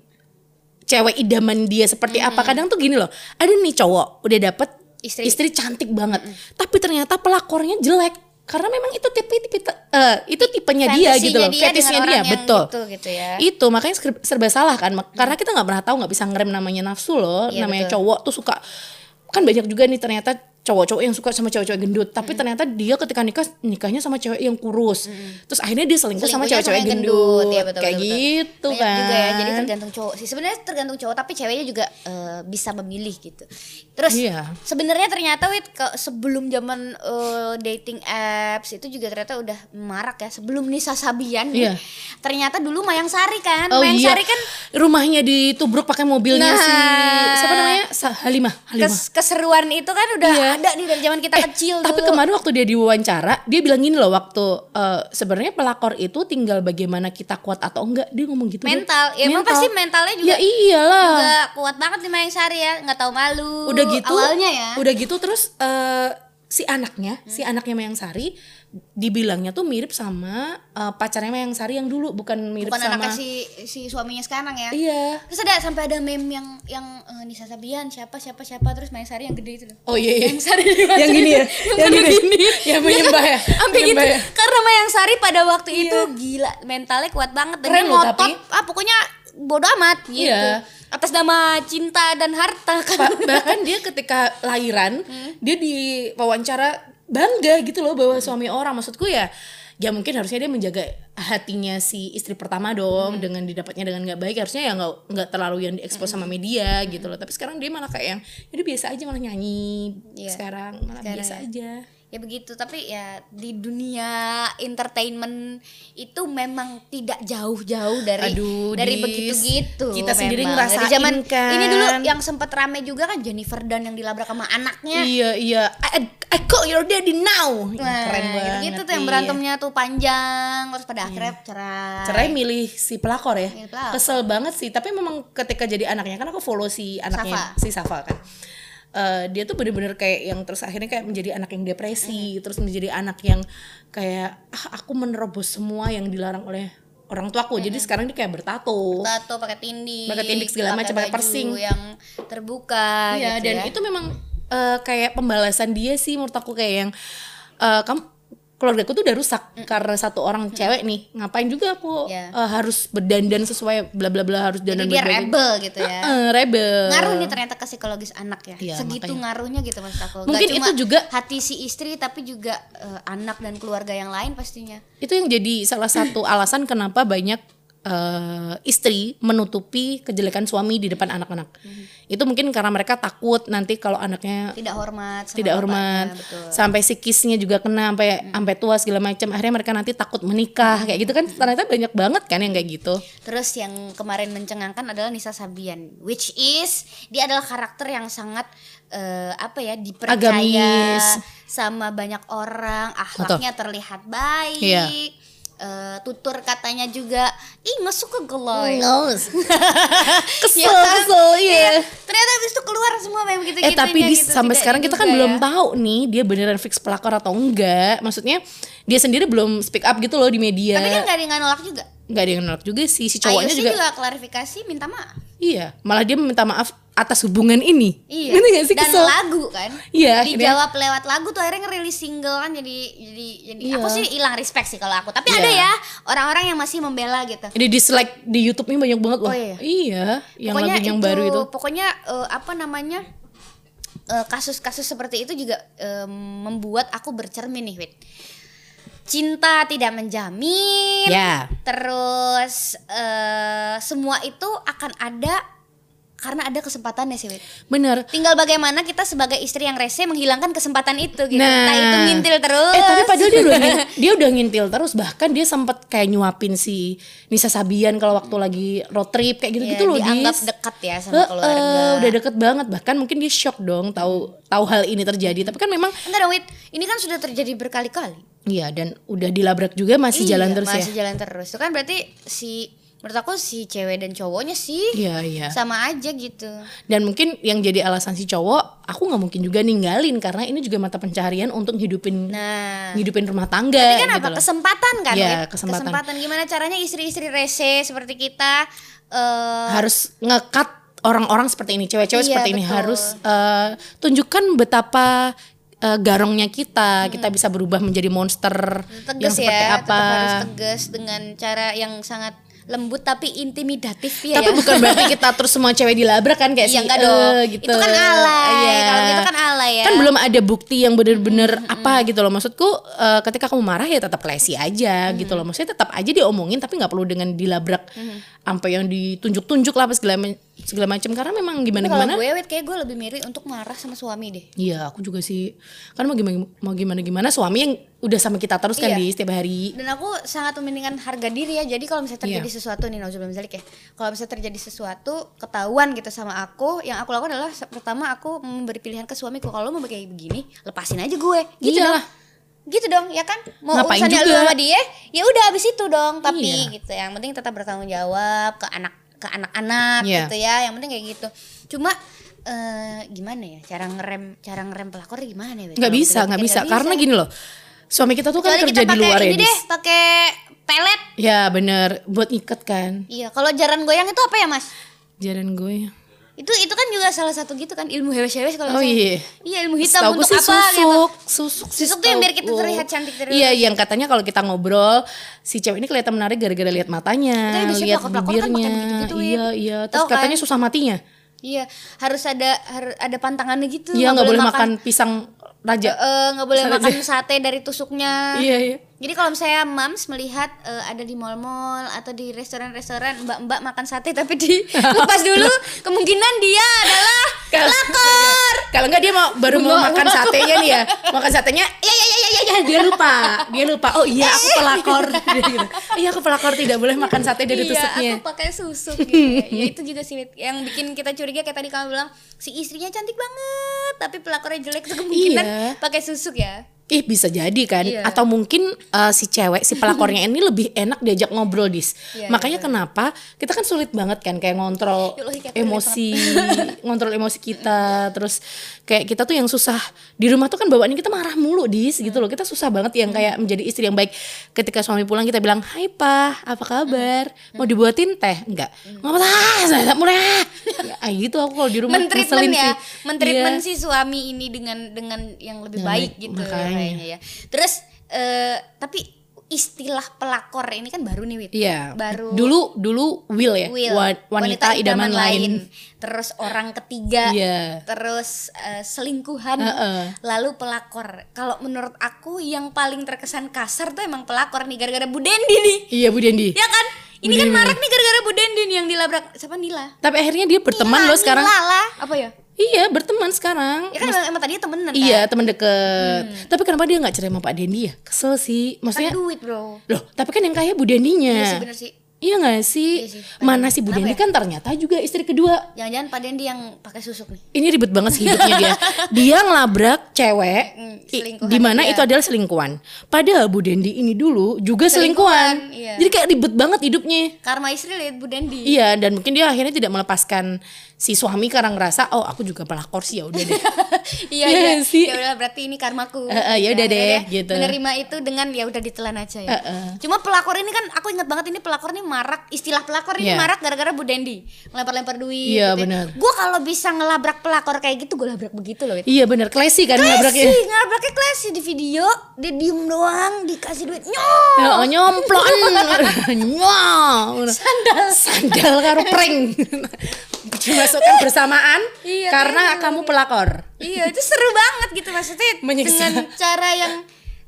[SPEAKER 1] cewek idaman dia seperti apa kadang tuh gini loh ada nih cowok udah dapet
[SPEAKER 2] Istri.
[SPEAKER 1] istri, cantik banget tapi ternyata pelakornya jelek karena memang itu tipe tipe eh, itu tipenya dia
[SPEAKER 2] Fantasinya
[SPEAKER 1] gitu loh
[SPEAKER 2] dia dengan
[SPEAKER 1] fetisnya
[SPEAKER 2] orang
[SPEAKER 1] dia
[SPEAKER 2] yang
[SPEAKER 1] betul
[SPEAKER 2] gitu, gitu ya.
[SPEAKER 1] itu makanya ser- serba salah kan Mak- karena kita nggak pernah tahu nggak bisa ngerem namanya nafsu loh
[SPEAKER 2] Iya,
[SPEAKER 1] namanya
[SPEAKER 2] betul.
[SPEAKER 1] cowok tuh suka kan banyak juga nih ternyata cowok-cowok yang suka sama cewek-cewek gendut
[SPEAKER 2] Hmm.
[SPEAKER 1] tapi ternyata dia ketika nikah nikahnya sama cewek yang kurus terus akhirnya dia selingkuh sama
[SPEAKER 2] Hmm. Selingkuhnya
[SPEAKER 1] cewek-cewek
[SPEAKER 2] yang
[SPEAKER 1] gendut,
[SPEAKER 2] Iya, betul,
[SPEAKER 1] kayak
[SPEAKER 2] betul, betul.
[SPEAKER 1] gitu
[SPEAKER 2] Banyak
[SPEAKER 1] kan
[SPEAKER 2] juga ya jadi tergantung cowok sih sebenarnya tergantung cowok tapi ceweknya juga eh, bisa memilih gitu terus
[SPEAKER 1] Iya.
[SPEAKER 2] sebenarnya ternyata wait ke- sebelum zaman eh, dating apps itu juga ternyata udah marak ya sebelum Nisa Sabian nih,
[SPEAKER 1] Iya.
[SPEAKER 2] ternyata dulu Mayang Sari kan
[SPEAKER 1] Oh
[SPEAKER 2] Mayang
[SPEAKER 1] iya,
[SPEAKER 2] Sari kan
[SPEAKER 1] rumahnya ditubruk pakai mobilnya
[SPEAKER 2] Nah.
[SPEAKER 1] si siapa namanya? Sa- Halimah, Halimah.
[SPEAKER 2] kes- keseruan itu kan udah
[SPEAKER 1] Iya.
[SPEAKER 2] ada nih dari zaman kita
[SPEAKER 1] Eh,
[SPEAKER 2] kecil
[SPEAKER 1] Tapi
[SPEAKER 2] dulu.
[SPEAKER 1] kemarin waktu dia diwawancara, dia bilang gini loh waktu eh, sebenarnya pelakor itu tinggal bagaimana kita kuat atau enggak. Dia ngomong gitu. deh.
[SPEAKER 2] mental ya emang pasti mentalnya juga
[SPEAKER 1] Ya iyalah.
[SPEAKER 2] juga kuat banget nih Mayang Sari ya nggak tahu malu
[SPEAKER 1] udah gitu
[SPEAKER 2] awalnya ya
[SPEAKER 1] udah gitu terus eh, si anaknya si anaknya Mayang Sari dibilangnya tuh mirip sama eh, pacarnya Mayang Sari yang dulu bukan mirip
[SPEAKER 2] bukan
[SPEAKER 1] sama
[SPEAKER 2] anaknya si si suaminya sekarang ya
[SPEAKER 1] iya
[SPEAKER 2] terus ada sampai ada meme yang yang eh, Nisa Sabian siapa siapa siapa terus Maya Sari yang gede itu loh
[SPEAKER 1] oh iya, iya.
[SPEAKER 2] Mayang Sari
[SPEAKER 1] yang gini ya yang gini, yang menyembah ya
[SPEAKER 2] sampai gitu
[SPEAKER 1] menyembah ya.
[SPEAKER 2] karena Mayang Sari pada waktu itu gila mentalnya kuat banget dan
[SPEAKER 1] Iya. Keren
[SPEAKER 2] dia
[SPEAKER 1] loh,
[SPEAKER 2] ngotot
[SPEAKER 1] tapi.
[SPEAKER 2] ah pokoknya bodo amat gitu
[SPEAKER 1] Iya.
[SPEAKER 2] atas nama cinta dan harta kan
[SPEAKER 1] Ba- bahkan dia ketika lahiran dia di wawancara bangga gitu loh bahwa suami orang maksudku ya ya mungkin harusnya dia menjaga hatinya si istri pertama dong
[SPEAKER 2] Hmm.
[SPEAKER 1] dengan didapatnya dengan nggak baik harusnya ya nggak nggak terlalu yang diekspos
[SPEAKER 2] Hmm.
[SPEAKER 1] sama media gitu loh tapi sekarang dia malah kayak yang jadi biasa aja malah nyanyi
[SPEAKER 2] Iya.
[SPEAKER 1] sekarang malah
[SPEAKER 2] Sekarang
[SPEAKER 1] biasa
[SPEAKER 2] ya.
[SPEAKER 1] aja
[SPEAKER 2] ya begitu tapi ya di dunia entertainment itu memang tidak jauh-jauh dari
[SPEAKER 1] Aduh,
[SPEAKER 2] dari
[SPEAKER 1] Dis.
[SPEAKER 2] begitu-gitu
[SPEAKER 1] Kita sendiri
[SPEAKER 2] memang. Dari
[SPEAKER 1] ngerasain
[SPEAKER 2] zaman
[SPEAKER 1] kan.
[SPEAKER 2] ini dulu yang sempat rame juga kan Jennifer Dunn yang dilabrak sama anaknya
[SPEAKER 1] iya iya I, I- I call your daddy now keren banget
[SPEAKER 2] gitu tuh yang
[SPEAKER 1] iya.
[SPEAKER 2] berantemnya tuh panjang terus pada akhirnya cerai
[SPEAKER 1] cerai milih si pelakor ya
[SPEAKER 2] Milih pelakor.
[SPEAKER 1] kesel banget sih tapi memang ketika jadi anaknya kan aku follow si anaknya
[SPEAKER 2] Safa.
[SPEAKER 1] si Safa kan Eh, dia tuh bener-bener kayak yang terus akhirnya kayak menjadi anak yang depresi
[SPEAKER 2] Hmm.
[SPEAKER 1] terus menjadi anak yang kayak ah aku menerobos semua yang dilarang oleh orang tuaku
[SPEAKER 2] Hmm.
[SPEAKER 1] jadi sekarang dia kayak bertato
[SPEAKER 2] tato pakai tindik
[SPEAKER 1] Pakai tindik segala macam, pakai
[SPEAKER 2] baju
[SPEAKER 1] piercing.
[SPEAKER 2] yang terbuka
[SPEAKER 1] Iya
[SPEAKER 2] gitu
[SPEAKER 1] dan
[SPEAKER 2] ya.
[SPEAKER 1] itu memang eh, kayak pembalasan dia sih menurut aku kayak yang eh, kamu keluargaku tuh udah rusak karena satu orang cewek nih ngapain juga aku
[SPEAKER 2] Hmm. Iya.
[SPEAKER 1] eh, harus berdandan sesuai bla bla bla harus
[SPEAKER 2] jadi
[SPEAKER 1] dandan bla
[SPEAKER 2] dia
[SPEAKER 1] bla bla.
[SPEAKER 2] rebel gitu ya
[SPEAKER 1] Eh, rebel.
[SPEAKER 2] ngaruh nih ternyata ke psikologis anak ya
[SPEAKER 1] Iya,
[SPEAKER 2] segitu
[SPEAKER 1] makanya.
[SPEAKER 2] ngaruhnya gitu maksud aku Nggak
[SPEAKER 1] Mungkin
[SPEAKER 2] cuma
[SPEAKER 1] itu juga-
[SPEAKER 2] hati si istri tapi juga eh, anak dan keluarga yang lain pastinya
[SPEAKER 1] Itu yang jadi salah satu alasan kenapa banyak eh, istri menutupi kejelekan suami di depan anak-anak.
[SPEAKER 2] Mhm.
[SPEAKER 1] Itu mungkin karena mereka takut nanti kalau anaknya
[SPEAKER 2] tidak hormat Iya, sama
[SPEAKER 1] tidak
[SPEAKER 2] bapaknya,
[SPEAKER 1] hormat
[SPEAKER 2] betul. Mhm.
[SPEAKER 1] sampai psikisnya juga kena sampai sampai tua segala macam akhirnya mereka nanti takut menikah kayak gitu kan
[SPEAKER 2] Mhm.
[SPEAKER 1] ternyata banyak banget kan yang kayak gitu
[SPEAKER 2] Terus yang kemarin mencengangkan adalah Nisa Sabian, which is dia adalah karakter yang sangat eh, apa ya dipercaya
[SPEAKER 1] Agamis.
[SPEAKER 2] sama banyak orang, akhlaknya terlihat baik.
[SPEAKER 1] Iya.
[SPEAKER 2] eh, tutur katanya juga ih ngesuk ke geloy
[SPEAKER 1] *laughs* kesel
[SPEAKER 2] Ya,
[SPEAKER 1] kesel iya
[SPEAKER 2] ternyata abis itu keluar semua memang gitu ya
[SPEAKER 1] eh tapi di, sampai sekarang kita kan belum tahu nih dia beneran fix pelakor atau enggak maksudnya dia sendiri belum speak up gitu loh di
[SPEAKER 2] tapi kan
[SPEAKER 1] media
[SPEAKER 2] nggak ada yang nolak juga
[SPEAKER 1] nggak ada yang nolak juga sih si
[SPEAKER 2] cowoknya
[SPEAKER 1] cowoknya juga,
[SPEAKER 2] juga klarifikasi minta maaf
[SPEAKER 1] iya malah dia minta maaf atas hubungan ini
[SPEAKER 2] Iya.
[SPEAKER 1] Ngerti nggak sih
[SPEAKER 2] Dan
[SPEAKER 1] kesel
[SPEAKER 2] lagu kan.
[SPEAKER 1] Iya, akhirnya.
[SPEAKER 2] Dijawab lewat lagu tuh akhirnya ngerilis single kan jadi jadi jadi
[SPEAKER 1] Iya.
[SPEAKER 2] aku sih hilang respect sih kalau aku. Tapi
[SPEAKER 1] Iya.
[SPEAKER 2] ada ya orang-orang yang masih membela gitu.
[SPEAKER 1] di dislike di YouTube-nya banyak banget loh
[SPEAKER 2] Oh, iya.
[SPEAKER 1] yang lagu yang baru itu
[SPEAKER 2] Pokoknya eh, apa namanya? eh, kasus-kasus seperti itu juga eh, membuat aku bercermin nih, Wit. Cinta tidak menjamin.
[SPEAKER 1] Ya.
[SPEAKER 2] Terus eh, semua itu akan ada karena ada kesempatannya sih, Wit.
[SPEAKER 1] Bener.
[SPEAKER 2] Tinggal bagaimana kita sebagai istri yang rese menghilangkan kesempatan itu gitu.
[SPEAKER 1] Nah.
[SPEAKER 2] Entah itu ngintil terus.
[SPEAKER 1] Eh tapi padahal dia udah
[SPEAKER 2] *laughs*
[SPEAKER 1] ngin- dia udah ngintil terus bahkan dia sempat kayak nyuapin si Nisa Sabian kalau waktu lagi road trip kayak
[SPEAKER 2] Ya,
[SPEAKER 1] gitu-gitu loh
[SPEAKER 2] dianggap
[SPEAKER 1] Dis.
[SPEAKER 2] dekat ya sama
[SPEAKER 1] Heeh,
[SPEAKER 2] keluarga.
[SPEAKER 1] udah deket banget bahkan mungkin dia shock dong tahu tahu hal ini terjadi tapi kan memang
[SPEAKER 2] Bentar dong, Wit. Ini kan sudah terjadi berkali-kali.
[SPEAKER 1] iya dan udah dilabrak juga masih jalan
[SPEAKER 2] Iya,
[SPEAKER 1] terus ya?
[SPEAKER 2] Masih jalan terus. Itu kan berarti si menurut aku si cewek dan cowoknya sih
[SPEAKER 1] ya. Iya iya.
[SPEAKER 2] sama aja gitu.
[SPEAKER 1] Dan mungkin yang jadi alasan si cowok aku nggak mungkin juga ninggalin karena ini juga mata pencaharian untuk hidupin
[SPEAKER 2] Nah,
[SPEAKER 1] hidupin rumah tangga.
[SPEAKER 2] Tapi kan
[SPEAKER 1] gitu
[SPEAKER 2] apa
[SPEAKER 1] loh.
[SPEAKER 2] kesempatan kan?
[SPEAKER 1] Iya,
[SPEAKER 2] Wit?
[SPEAKER 1] kesempatan.
[SPEAKER 2] Gimana caranya istri-istri rese seperti kita eh
[SPEAKER 1] harus ngekat orang-orang seperti ini cewek-cewek
[SPEAKER 2] Iya,
[SPEAKER 1] seperti ini
[SPEAKER 2] betul.
[SPEAKER 1] harus eh, tunjukkan betapa eh, garongnya kita kita bisa berubah menjadi monster yang
[SPEAKER 2] tegas Hmm. ya,
[SPEAKER 1] seperti
[SPEAKER 2] tetap
[SPEAKER 1] apa
[SPEAKER 2] harus tegas dengan cara yang sangat lembut tapi intimidatif ya.
[SPEAKER 1] tapi
[SPEAKER 2] ya.
[SPEAKER 1] bukan berarti kita terus semua cewek dilabrak kan kayak
[SPEAKER 2] *laughs* Iya
[SPEAKER 1] si,
[SPEAKER 2] enggak
[SPEAKER 1] "Eh,"
[SPEAKER 2] dong.
[SPEAKER 1] gitu
[SPEAKER 2] Itu kan alay.
[SPEAKER 1] Iya.
[SPEAKER 2] Kalau gitu kan alay ya.
[SPEAKER 1] Kan belum ada bukti yang bener-bener apa gitu loh maksudku eh, ketika kamu marah ya tetap lesi aja gitu loh maksudnya tetap aja diomongin tapi nggak perlu dengan dilabrak sampai yang ditunjuk-tunjuk lah apa segala ma- segala macam karena memang gimana
[SPEAKER 2] Kalau
[SPEAKER 1] gimana
[SPEAKER 2] gue wait kayak gue lebih mirip untuk marah sama suami deh.
[SPEAKER 1] Iya, aku juga sih. Kan mau gimana mau gimana gimana suami yang udah sama kita terus kan
[SPEAKER 2] Iya.
[SPEAKER 1] di setiap hari.
[SPEAKER 2] Dan aku sangat mementingkan harga diri ya. Jadi kalau misalnya terjadi
[SPEAKER 1] Iya.
[SPEAKER 2] sesuatu nih nauzubillah min dzalik ya. Kalau misalnya terjadi sesuatu ketahuan gitu sama aku, yang aku lakukan adalah se- pertama aku memberi pilihan ke suamiku kalau lu mau kayak begini, lepasin aja gue. Gitu
[SPEAKER 1] Iyalah.
[SPEAKER 2] dong. Gitu dong, ya kan? Mau
[SPEAKER 1] Iya Ngapain
[SPEAKER 2] urusannya lu
[SPEAKER 1] juga.
[SPEAKER 2] sama dia, ya udah abis itu dong. Tapi
[SPEAKER 1] Iya.
[SPEAKER 2] gitu. Yang penting tetap bertanggung jawab ke anak ke anak-anak
[SPEAKER 1] Iya.
[SPEAKER 2] gitu ya. Yang penting kayak gitu. Cuma eh, gimana ya cara ngerem cara ngerem pelakor gimana ya? Bet?
[SPEAKER 1] Nggak
[SPEAKER 2] Kalau
[SPEAKER 1] bisa,
[SPEAKER 2] kita
[SPEAKER 1] nggak
[SPEAKER 2] pikir,
[SPEAKER 1] bisa. Karena gini loh. Suami kita tuh kan
[SPEAKER 2] Kecuali
[SPEAKER 1] kerja
[SPEAKER 2] kita
[SPEAKER 1] di
[SPEAKER 2] pakai
[SPEAKER 1] luar ya.
[SPEAKER 2] ini
[SPEAKER 1] Dis.
[SPEAKER 2] deh, pakai pelet.
[SPEAKER 1] Ya, bener buat ikat kan.
[SPEAKER 2] Iya, kalau jaran goyang itu apa ya, Mas?
[SPEAKER 1] Jaran gue.
[SPEAKER 2] Itu itu kan juga salah satu gitu kan ilmu hewas-hewas kalau
[SPEAKER 1] Oh
[SPEAKER 2] misalnya-
[SPEAKER 1] iya.
[SPEAKER 2] Iya, ilmu hitam
[SPEAKER 1] Setahu
[SPEAKER 2] untuk
[SPEAKER 1] sih
[SPEAKER 2] apa gitu.
[SPEAKER 1] susuk, susuk, sih
[SPEAKER 2] Susuk tuh yang biar
[SPEAKER 1] setahu
[SPEAKER 2] kita
[SPEAKER 1] aku.
[SPEAKER 2] terlihat cantik dari
[SPEAKER 1] Iya, yang katanya kalau kita ngobrol si cewek ini kelihatan menarik gara-gara lihat matanya,
[SPEAKER 2] Tapi biasanya
[SPEAKER 1] lihat
[SPEAKER 2] pelakor-pelakor kan
[SPEAKER 1] bibirnya.
[SPEAKER 2] makan gitu-gitu, Win.
[SPEAKER 1] iya, iya.
[SPEAKER 2] Tahu
[SPEAKER 1] Terus
[SPEAKER 2] kan?
[SPEAKER 1] katanya susah matinya.
[SPEAKER 2] Iya, harus ada har- ada pantangannya gitu.
[SPEAKER 1] Iya, nggak boleh makan pisang
[SPEAKER 2] Eh,
[SPEAKER 1] raja.
[SPEAKER 2] eh, nggak boleh
[SPEAKER 1] Bisa
[SPEAKER 2] makan
[SPEAKER 1] aja.
[SPEAKER 2] sate dari tusuknya.
[SPEAKER 1] Iya, iya.
[SPEAKER 2] Jadi kalau misalnya mams melihat eh, ada di mall-mall atau di restoran-restoran mbak-mbak makan sate tapi
[SPEAKER 1] *laughs*
[SPEAKER 2] dilepas dulu, kemungkinan dia adalah
[SPEAKER 1] Kalau-
[SPEAKER 2] pelakor.
[SPEAKER 1] Kalau enggak dia mau baru mau makan satenya nih ya. Makan satenya,
[SPEAKER 2] Iya,
[SPEAKER 1] ya ya ya ya ya, ya. dia lupa. Dia lupa. Oh iya,
[SPEAKER 2] *laughs*
[SPEAKER 1] aku pelakor. Dia gitu. Iya, aku pelakor tidak boleh makan sate dari
[SPEAKER 2] Iya,
[SPEAKER 1] tusuknya.
[SPEAKER 2] aku pakai
[SPEAKER 1] *laughs*
[SPEAKER 2] susuk gitu. ya. ya itu juga sih Wit. yang bikin kita curiga kayak tadi kamu bilang si istrinya cantik banget, tapi pelakornya jelek itu kemungkinan
[SPEAKER 1] Iya.
[SPEAKER 2] pakai susuk ya.
[SPEAKER 1] Ih bisa jadi kan
[SPEAKER 2] Iya.
[SPEAKER 1] atau mungkin eh, si cewek si pelakornya ini lebih enak diajak ngobrol dis.
[SPEAKER 2] Iya,
[SPEAKER 1] Makanya kenapa kita kan sulit banget kan kayak ngontrol
[SPEAKER 2] Ya Allah, kayak aku
[SPEAKER 1] emosi, ngontrol
[SPEAKER 2] *laughs*
[SPEAKER 1] emosi kita terus kayak kita tuh yang susah di rumah tuh kan bawaannya kita marah mulu dis gitu loh. Kita susah banget yang
[SPEAKER 2] Hmm.
[SPEAKER 1] kayak menjadi istri yang baik. Ketika suami pulang kita bilang, "Hai, Pak, apa kabar?
[SPEAKER 2] Hmm.
[SPEAKER 1] Mau dibuatin teh?" Enggak. Enggak apa-apa, saya tak mulai.
[SPEAKER 2] *laughs*
[SPEAKER 1] Ya, kayak gitu aku kalau di rumah
[SPEAKER 2] Mentreatment
[SPEAKER 1] ngeselin
[SPEAKER 2] ya,
[SPEAKER 1] sih.
[SPEAKER 2] mentreatment
[SPEAKER 1] Iya.
[SPEAKER 2] si suami ini dengan dengan yang lebih
[SPEAKER 1] Dengan
[SPEAKER 2] baik
[SPEAKER 1] baik,
[SPEAKER 2] gitu ya
[SPEAKER 1] makanya.
[SPEAKER 2] kayaknya ya. Terus eh, tapi istilah pelakor ini kan baru nih Wit.
[SPEAKER 1] Iya.
[SPEAKER 2] Baru
[SPEAKER 1] Dulu dulu will ya.
[SPEAKER 2] Will,
[SPEAKER 1] Wa- wanita, idaman, lain.
[SPEAKER 2] Terus orang ketiga.
[SPEAKER 1] Iya.
[SPEAKER 2] Terus eh, selingkuhan.
[SPEAKER 1] Heeh.
[SPEAKER 2] Lalu pelakor. Kalau menurut aku yang paling terkesan kasar tuh emang pelakor nih gara-gara Bu Dendi nih.
[SPEAKER 1] Iya Bu Dendi.
[SPEAKER 2] Ya kan? Ini kan marak nih gara-gara Bu Dendin yang dilabrak. Siapa Nila?
[SPEAKER 1] Tapi akhirnya dia berteman
[SPEAKER 2] Nila,
[SPEAKER 1] loh sekarang.
[SPEAKER 2] Nila lah. Apa ya?
[SPEAKER 1] Iya, berteman sekarang.
[SPEAKER 2] Ya kan emang, emang tadinya temenan kan? Hmm.
[SPEAKER 1] Iya, teman deket. Tapi kenapa dia nggak cerai sama Pak Dendi ya? Kesel sih.
[SPEAKER 2] Kan
[SPEAKER 1] Maksudnya,
[SPEAKER 2] duit bro.
[SPEAKER 1] loh, tapi kan yang kaya Bu
[SPEAKER 2] Iya sih
[SPEAKER 1] Dendinya.
[SPEAKER 2] bener sih.
[SPEAKER 1] Iya nggak sih?
[SPEAKER 2] Iya sih.
[SPEAKER 1] Mana sih Bu
[SPEAKER 2] Kenapa ya?
[SPEAKER 1] Dendi kan ternyata juga istri kedua.
[SPEAKER 2] Jangan-jangan Pak Dendi yang pakai susuk nih.
[SPEAKER 1] Ini ribet banget sih hidupnya
[SPEAKER 2] *laughs*
[SPEAKER 1] dia. Dia ngelabrak cewek
[SPEAKER 2] Mm,
[SPEAKER 1] i-
[SPEAKER 2] selingkuhan
[SPEAKER 1] di mana
[SPEAKER 2] dia.
[SPEAKER 1] itu adalah selingkuhan. Padahal Bu Dendi ini dulu juga selingkuhan.
[SPEAKER 2] Selingkuhan, iya.
[SPEAKER 1] Jadi kayak ribet banget hidupnya.
[SPEAKER 2] Karma istri lihat Bu Dendi.
[SPEAKER 1] Iya, dan mungkin dia akhirnya tidak melepaskan si suami karena ngerasa oh aku juga pelakor sih ya udah deh.
[SPEAKER 2] *laughs* Iya
[SPEAKER 1] Iya
[SPEAKER 2] iya.
[SPEAKER 1] sih.
[SPEAKER 2] Ya udah berarti ini karmaku.
[SPEAKER 1] Eh, eh, ya udah
[SPEAKER 2] Ya,
[SPEAKER 1] deh,
[SPEAKER 2] ya.
[SPEAKER 1] gitu.
[SPEAKER 2] Menerima itu dengan ya udah ditelan aja ya.
[SPEAKER 1] Eh, eh.
[SPEAKER 2] Cuma pelakor ini kan aku ingat banget ini pelakor ini marak istilah pelakor ini
[SPEAKER 1] Iya.
[SPEAKER 2] marak gara-gara Bu Dendi melempar-lempar duit.
[SPEAKER 1] Iya,
[SPEAKER 2] gitu ya.
[SPEAKER 1] benar.
[SPEAKER 2] Gua kalau bisa ngelabrak pelakor kayak gitu gua labrak begitu loh. Wit.
[SPEAKER 1] *laughs* iya bener klesi kan
[SPEAKER 2] Klesi,
[SPEAKER 1] ngelabraknya.
[SPEAKER 2] ngelabraknya klesi di video, dia diem doang, dikasih duit, nyok!
[SPEAKER 1] Oh, *laughs* nyomplok nyong sandal sandal karo prank *laughs* dimasukkan bersamaan
[SPEAKER 2] Iya,
[SPEAKER 1] karena kamu pelakor
[SPEAKER 2] iya itu seru banget gitu maksudnya
[SPEAKER 1] Menyiksa.
[SPEAKER 2] dengan cara yang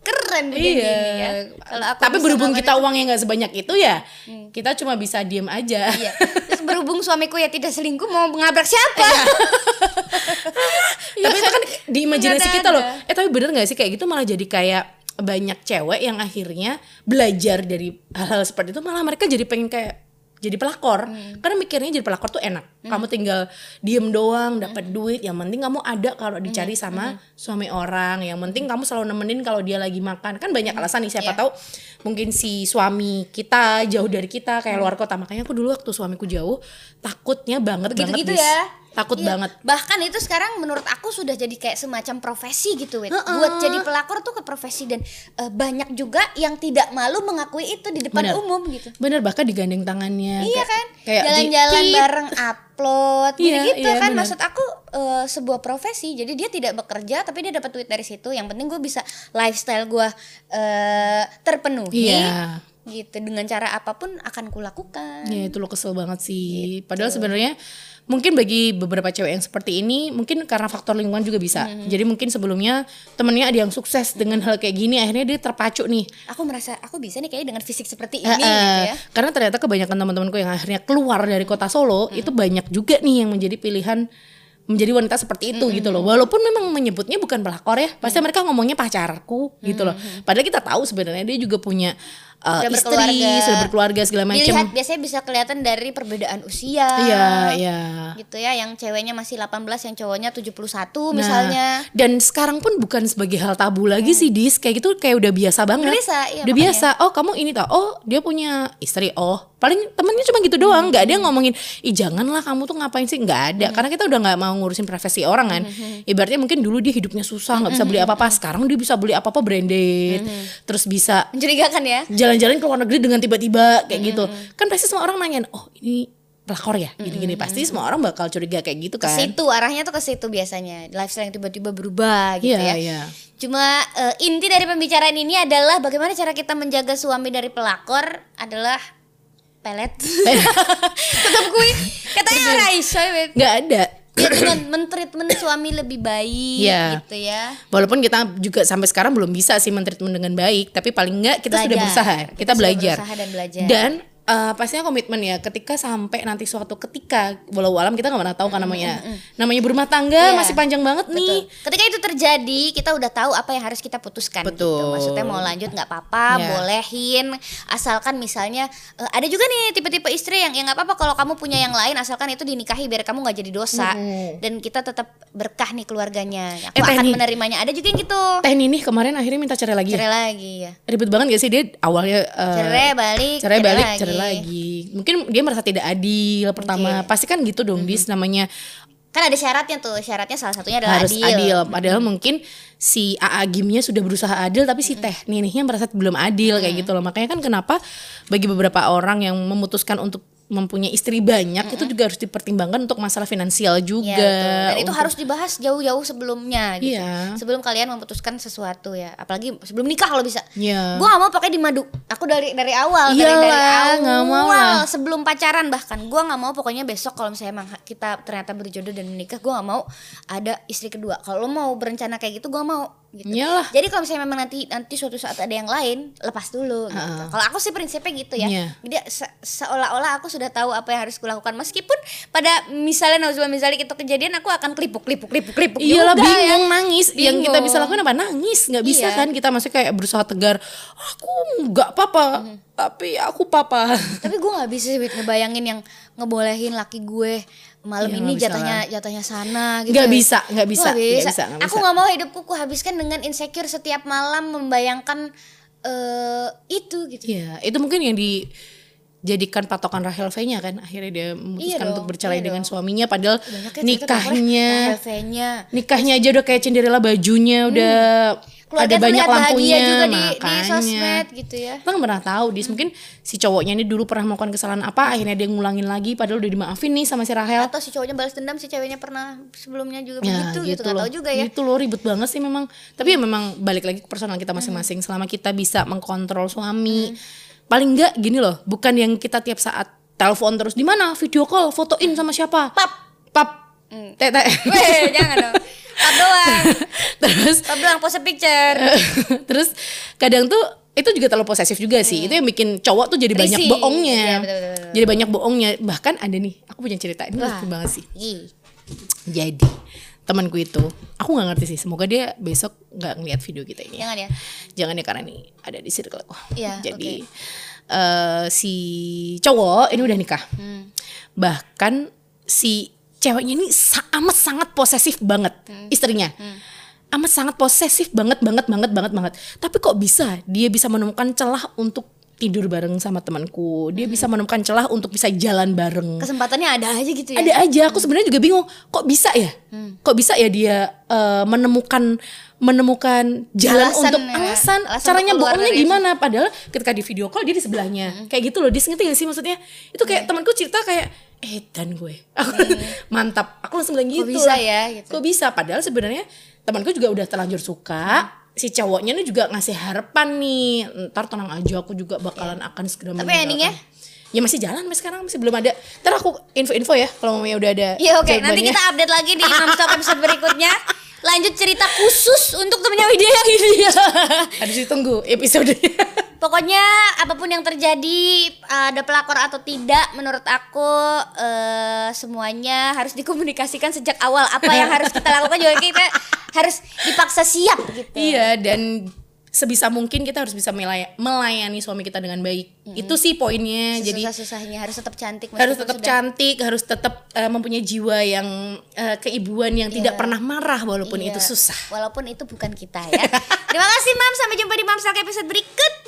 [SPEAKER 2] keren Bu Dendi
[SPEAKER 1] iya
[SPEAKER 2] ini ya kalau aku
[SPEAKER 1] tapi
[SPEAKER 2] bisa
[SPEAKER 1] berhubung
[SPEAKER 2] melakukan
[SPEAKER 1] kita uangnya nggak sebanyak itu ya kita cuma bisa diem aja
[SPEAKER 2] itu, iya. terus berhubung suamiku ya tidak selingkuh mau ngelabrak siapa
[SPEAKER 1] Iya.
[SPEAKER 2] *laughs* Iya,
[SPEAKER 1] tapi itu kan di imajinasi
[SPEAKER 2] Nggak
[SPEAKER 1] kita
[SPEAKER 2] ada.
[SPEAKER 1] loh eh tapi bener nggak sih kayak gitu malah jadi kayak banyak cewek yang akhirnya belajar dari hal-hal seperti itu malah mereka jadi pengen kayak jadi pelakor
[SPEAKER 2] Hmm.
[SPEAKER 1] karena mikirnya jadi pelakor tuh enak kamu tinggal diem
[SPEAKER 2] Hmm.
[SPEAKER 1] doang dapat duit yang penting kamu ada kalau dicari sama suami orang yang penting kamu selalu nemenin kalau dia lagi makan kan banyak alasan nih siapa
[SPEAKER 2] Iya.
[SPEAKER 1] tahu mungkin si suami kita jauh dari kita
[SPEAKER 2] Hmm.
[SPEAKER 1] kayak luar kota makanya aku dulu waktu suamiku jauh takutnya banget banget
[SPEAKER 2] gitu-gitu
[SPEAKER 1] Dis.
[SPEAKER 2] ya
[SPEAKER 1] takut
[SPEAKER 2] Iya.
[SPEAKER 1] banget
[SPEAKER 2] bahkan itu sekarang menurut aku sudah jadi kayak semacam profesi gitu Wit. buat jadi pelakor tuh ke profesi dan eh, banyak juga yang tidak malu mengakui itu di depan
[SPEAKER 1] Bener.
[SPEAKER 2] umum gitu
[SPEAKER 1] Bener bahkan digandeng tangannya.
[SPEAKER 2] Iya
[SPEAKER 1] kayak-
[SPEAKER 2] kan,
[SPEAKER 1] kayak di-
[SPEAKER 2] jalan-jalan
[SPEAKER 1] Tit.
[SPEAKER 2] bareng upload,
[SPEAKER 1] Iya,
[SPEAKER 2] gitu
[SPEAKER 1] iya,
[SPEAKER 2] kan.
[SPEAKER 1] benar.
[SPEAKER 2] Maksud aku eh, sebuah profesi. Jadi dia tidak bekerja, tapi dia dapat duit dari situ. Yang penting gue bisa lifestyle gue eh, terpenuhi,
[SPEAKER 1] Iya.
[SPEAKER 2] gitu. Dengan cara apapun akan kulakukan.
[SPEAKER 1] Ya itu lo kesel banget sih.
[SPEAKER 2] Gitu.
[SPEAKER 1] Padahal sebenarnya mungkin bagi beberapa cewek yang seperti ini mungkin karena faktor lingkungan juga bisa.
[SPEAKER 2] Hmm.
[SPEAKER 1] Jadi mungkin sebelumnya temennya ada yang sukses dengan hal kayak gini akhirnya dia terpacu nih.
[SPEAKER 2] Aku merasa aku bisa nih kayaknya dengan fisik seperti
[SPEAKER 1] Eh,
[SPEAKER 2] ini,
[SPEAKER 1] eh,
[SPEAKER 2] gitu ya.
[SPEAKER 1] Karena ternyata kebanyakan teman-temanku yang akhirnya keluar dari kota Solo
[SPEAKER 2] Hmm.
[SPEAKER 1] itu banyak juga nih yang menjadi pilihan menjadi wanita seperti itu gitu
[SPEAKER 2] Hmm.
[SPEAKER 1] loh. Walaupun memang menyebutnya bukan pelakor ya, pasti mereka ngomongnya pacarku gitu loh. Padahal kita tahu sebenarnya dia juga punya uh,
[SPEAKER 2] Hmm. Sudah
[SPEAKER 1] istri,
[SPEAKER 2] berkeluarga.
[SPEAKER 1] sudah berkeluarga segala
[SPEAKER 2] Dilihat
[SPEAKER 1] macam.
[SPEAKER 2] biasanya bisa kelihatan dari perbedaan usia.
[SPEAKER 1] Iya, iya.
[SPEAKER 2] Gitu ya, yang ceweknya masih 18, yang cowoknya 71 misalnya.
[SPEAKER 1] Nah, dan sekarang pun bukan sebagai hal tabu lagi sih dis kayak gitu kayak udah biasa banget.
[SPEAKER 2] Udah biasa,
[SPEAKER 1] Udah
[SPEAKER 2] iya, makanya.
[SPEAKER 1] biasa. Oh, kamu ini tau. Oh, dia punya istri. Oh, paling temennya cuma gitu doang, nggak ada yang ngomongin, "Ih, janganlah kamu tuh ngapain sih?" nggak ada.
[SPEAKER 2] Iya.
[SPEAKER 1] Karena kita udah nggak mau ngurusin privasi orang kan.
[SPEAKER 2] Mhm.
[SPEAKER 1] Ibaratnya mungkin dulu dia hidupnya susah, nggak bisa beli apa-apa. Sekarang dia bisa beli apa-apa branded.
[SPEAKER 2] Mhm.
[SPEAKER 1] Terus bisa
[SPEAKER 2] Mencurigakan ya.
[SPEAKER 1] jalan-jalan ke luar negeri dengan tiba-tiba kayak gitu.
[SPEAKER 2] Mhm.
[SPEAKER 1] Kan pasti semua orang nanyain, "Oh, ini pelakor ya?" Gini-gini pasti semua orang bakal curiga kayak gitu
[SPEAKER 2] ke
[SPEAKER 1] kan.
[SPEAKER 2] situ arahnya tuh ke situ biasanya lifestyle yang tiba-tiba berubah gitu
[SPEAKER 1] Iya,
[SPEAKER 2] ya
[SPEAKER 1] iya.
[SPEAKER 2] cuma eh, inti dari pembicaraan ini adalah bagaimana cara kita menjaga suami dari pelakor adalah pelet *laughs*
[SPEAKER 1] Eh, *laughs*
[SPEAKER 2] tetap gue katanya Raisa web
[SPEAKER 1] Nggak ada.
[SPEAKER 2] ya dengan mentreatment suami lebih baik
[SPEAKER 1] Iya.
[SPEAKER 2] gitu ya
[SPEAKER 1] Walaupun kita juga sampai sekarang belum bisa sih mentreatment dengan baik, tapi paling enggak kita sudah
[SPEAKER 2] Belajar.
[SPEAKER 1] berusaha, ya.
[SPEAKER 2] Kita
[SPEAKER 1] kita,
[SPEAKER 2] sudah
[SPEAKER 1] belajar.
[SPEAKER 2] berusaha dan belajar.
[SPEAKER 1] eh, pastinya komitmen ya. Ketika sampai nanti suatu ketika, walau alam kita nggak pernah tahu kan namanya, namanya berumah tangga
[SPEAKER 2] Mm, Iya.
[SPEAKER 1] masih panjang banget nih.
[SPEAKER 2] Betul. Ketika itu terjadi, kita udah tahu apa yang harus kita putuskan. gitu.
[SPEAKER 1] Betul.
[SPEAKER 2] Maksudnya mau lanjut nggak apa-apa,
[SPEAKER 1] Ya.
[SPEAKER 2] bolehin, asalkan misalnya eh, ada juga nih tipe-tipe istri yang yang nggak apa-apa kalau kamu punya yang lain, asalkan itu dinikahi biar kamu nggak jadi dosa dan kita tetap berkah nih keluarganya.
[SPEAKER 1] Mm-hmm. Eh,
[SPEAKER 2] Aku akan
[SPEAKER 1] Teh, nih.
[SPEAKER 2] menerimanya. Ada juga yang gitu.
[SPEAKER 1] Teh Ninih kemarin akhirnya minta cerai lagi. ya?
[SPEAKER 2] Cerai lagi ya.
[SPEAKER 1] Ribet banget gak sih dia awalnya eh,
[SPEAKER 2] Cerai balik,
[SPEAKER 1] cerai balik, cerai lagi. Mungkin dia merasa tidak adil pertama. Pasti kan gitu dong, Dis namanya
[SPEAKER 2] Kan ada syaratnya tuh. Syaratnya salah satunya adalah
[SPEAKER 1] harus adil. Padahal mungkin si AA Gimnya sudah berusaha adil tapi si Teh Ninihnya merasa belum adil kayak gitu loh. Makanya kan kenapa bagi beberapa orang yang memutuskan untuk mempunyai istri banyak itu juga harus dipertimbangkan untuk masalah finansial
[SPEAKER 2] Ya,
[SPEAKER 1] juga.
[SPEAKER 2] betul. Dan itu
[SPEAKER 1] Untuk-
[SPEAKER 2] harus dibahas jauh-jauh sebelumnya gitu.
[SPEAKER 1] Iya.
[SPEAKER 2] Sebelum kalian memutuskan sesuatu ya, apalagi sebelum nikah kalau bisa.
[SPEAKER 1] Iya.
[SPEAKER 2] Gua nggak mau pakai dimadu. Aku dari dari awal, dari dari
[SPEAKER 1] Iyalah,
[SPEAKER 2] awal
[SPEAKER 1] nggak mau lah.
[SPEAKER 2] sebelum pacaran bahkan gua nggak mau pokoknya besok kalau misalnya emang kita ternyata berjodoh dan menikah, gua nggak mau ada istri kedua. Kalau lo mau berencana kayak gitu, gua nggak mau gitu.
[SPEAKER 1] Iyalah.
[SPEAKER 2] Jadi kalau misalnya memang nanti nanti suatu saat ada yang lain, lepas dulu gitu.
[SPEAKER 1] Heeh.
[SPEAKER 2] Kalau aku sih prinsipnya gitu ya.
[SPEAKER 1] Iya.
[SPEAKER 2] Jadi se- seolah-olah aku sudah tahu apa yang harus kulakukan meskipun pada misalnya nauzubillah misalnya itu kejadian aku akan kelipuk kelipuk kelipuk kelipuk
[SPEAKER 1] Iyalah
[SPEAKER 2] juga ya.
[SPEAKER 1] Iya bingung nangis yang kita
[SPEAKER 2] Bingung.
[SPEAKER 1] bisa lakukan apa nangis nggak bisa
[SPEAKER 2] Iya.
[SPEAKER 1] kan kita masih kayak berusaha tegar aku nggak papa tapi aku papa *laughs*
[SPEAKER 2] tapi gue nggak bisa sih Wit, ngebayangin yang ngebolehin laki gue malam
[SPEAKER 1] Iya,
[SPEAKER 2] ini
[SPEAKER 1] nggak bisa
[SPEAKER 2] jatahnya jatahnya sana gitu
[SPEAKER 1] nggak
[SPEAKER 2] Wit.
[SPEAKER 1] bisa nggak bisa
[SPEAKER 2] Gua nggak bisa.
[SPEAKER 1] nggak
[SPEAKER 2] aku nggak mau hidupku kuhabiskan dengan insecure setiap malam membayangkan eh itu gitu
[SPEAKER 1] Iya, itu mungkin yang dijadikan patokan Rahel V-nya kan. Akhirnya dia memutuskan
[SPEAKER 2] dong,
[SPEAKER 1] untuk bercerai
[SPEAKER 2] iya
[SPEAKER 1] dengan suaminya padahal
[SPEAKER 2] Banyak ya cerita
[SPEAKER 1] nikahnya
[SPEAKER 2] tentang LV-nya.
[SPEAKER 1] nikahnya aja udah kayak cenderela bajunya udah ada
[SPEAKER 2] Hmm.
[SPEAKER 1] banyak
[SPEAKER 2] Keluarga terlihat bahagia
[SPEAKER 1] lampunya
[SPEAKER 2] juga di, di
[SPEAKER 1] makanya.
[SPEAKER 2] sosmed gitu ya
[SPEAKER 1] Kita nggak pernah tahu dis mungkin si cowoknya ini dulu pernah melakukan kesalahan apa akhirnya dia ngulangin lagi padahal udah dimaafin nih sama si Rahel.
[SPEAKER 2] atau si cowoknya balas dendam si ceweknya pernah sebelumnya juga
[SPEAKER 1] Ya,
[SPEAKER 2] begitu gitu nggak
[SPEAKER 1] loh.
[SPEAKER 2] tahu juga ya
[SPEAKER 1] Gitu loh ribet banget sih memang. Tapi ya memang balik lagi ke personal kita masing-masing. Selama kita bisa mengkontrol
[SPEAKER 2] Hmm.
[SPEAKER 1] suami, paling enggak gini loh, bukan yang kita tiap saat telepon terus di mana, video call, fotoin sama siapa.
[SPEAKER 2] pap
[SPEAKER 1] Pap. Tete.
[SPEAKER 2] Hmm. weh *laughs* jangan dong pap doang
[SPEAKER 1] *laughs* terus *laughs*
[SPEAKER 2] pap doang pose picture
[SPEAKER 1] terus kadang tuh itu juga terlalu posesif juga sih. Itu yang bikin cowok tuh jadi banyak
[SPEAKER 2] Hmm. Risih.
[SPEAKER 1] bohongnya.
[SPEAKER 2] Iya, betul, betul, betul.
[SPEAKER 1] Jadi banyak bohongnya. Bahkan ada nih, aku punya cerita. Ini
[SPEAKER 2] Wah.
[SPEAKER 1] lucu banget sih.
[SPEAKER 2] Ih.
[SPEAKER 1] Jadi temanku itu, aku nggak ngerti sih. Semoga dia besok nggak ngeliat video kita ini.
[SPEAKER 2] jangan ya
[SPEAKER 1] Jangan ya karena ini ada di circle aku.
[SPEAKER 2] Iya,
[SPEAKER 1] *laughs* Jadi eh, si cowok ini udah nikah.
[SPEAKER 2] Hmm.
[SPEAKER 1] Bahkan si ceweknya ini sa- amat sangat posesif banget
[SPEAKER 2] Hmm.
[SPEAKER 1] istrinya. Amat sangat posesif banget banget banget banget banget. Tapi kok bisa dia bisa menemukan celah untuk tidur bareng sama temanku.
[SPEAKER 2] Hmm.
[SPEAKER 1] Dia bisa menemukan celah untuk bisa jalan bareng
[SPEAKER 2] kesempatannya ada aja gitu ya
[SPEAKER 1] ada aja aku sebenarnya juga bingung kok bisa ya
[SPEAKER 2] Hmm.
[SPEAKER 1] kok bisa ya dia eh, menemukan menemukan jalan
[SPEAKER 2] Alasan
[SPEAKER 1] untuk
[SPEAKER 2] ya.
[SPEAKER 1] alasan,
[SPEAKER 2] Alasan
[SPEAKER 1] caranya
[SPEAKER 2] untuk keluar
[SPEAKER 1] bohongnya
[SPEAKER 2] dari itu. Hmm.
[SPEAKER 1] gimana padahal ketika di video call dia di sebelahnya kayak gitu loh dia ngerti gak sih maksudnya itu kayak temanku cerita kayak eh dan gue Aku- *laughs* mantap aku langsung bilang gitu
[SPEAKER 2] Iya. bisa
[SPEAKER 1] lah.
[SPEAKER 2] ya, gitu.
[SPEAKER 1] kok bisa padahal sebenarnya temanku juga udah terlanjur suka si cowoknya nih juga ngasih harapan nih ntar tenang aja aku juga bakalan akan segera
[SPEAKER 2] Tapi
[SPEAKER 1] meninggalkan."
[SPEAKER 2] endingnya?
[SPEAKER 1] ya masih jalan sampai sekarang masih belum ada ntar aku info-info ya kalau mamanya udah ada
[SPEAKER 2] Iya oke, nanti
[SPEAKER 1] jawabannya.
[SPEAKER 2] kita
[SPEAKER 1] *laughs*
[SPEAKER 2] update lagi di Mamstok episode berikutnya. Lanjut cerita khusus untuk temennya
[SPEAKER 1] Iya,
[SPEAKER 2] Widya yang ini.
[SPEAKER 1] harus ditunggu episode
[SPEAKER 2] Pokoknya apapun yang terjadi, eh, ada pelakor atau tidak, menurut aku eh, semuanya harus dikomunikasikan sejak awal. Apa yang harus kita lakukan juga kita harus dipaksa siap gitu.
[SPEAKER 1] *laughs* iya dan sebisa mungkin kita harus bisa melay- melayani suami kita dengan baik itu sih poinnya jadi
[SPEAKER 2] Susah-susahnya harus tetap cantik.
[SPEAKER 1] harus
[SPEAKER 2] meskipun
[SPEAKER 1] tetap
[SPEAKER 2] sudah-
[SPEAKER 1] cantik harus tetap eh, mempunyai jiwa yang eh, keibuan yang tidak pernah marah walaupun
[SPEAKER 2] Iya,
[SPEAKER 1] itu susah
[SPEAKER 2] Walaupun itu bukan kita ya. Terima kasih Mam, sampai jumpa di Mamstok episode berikut.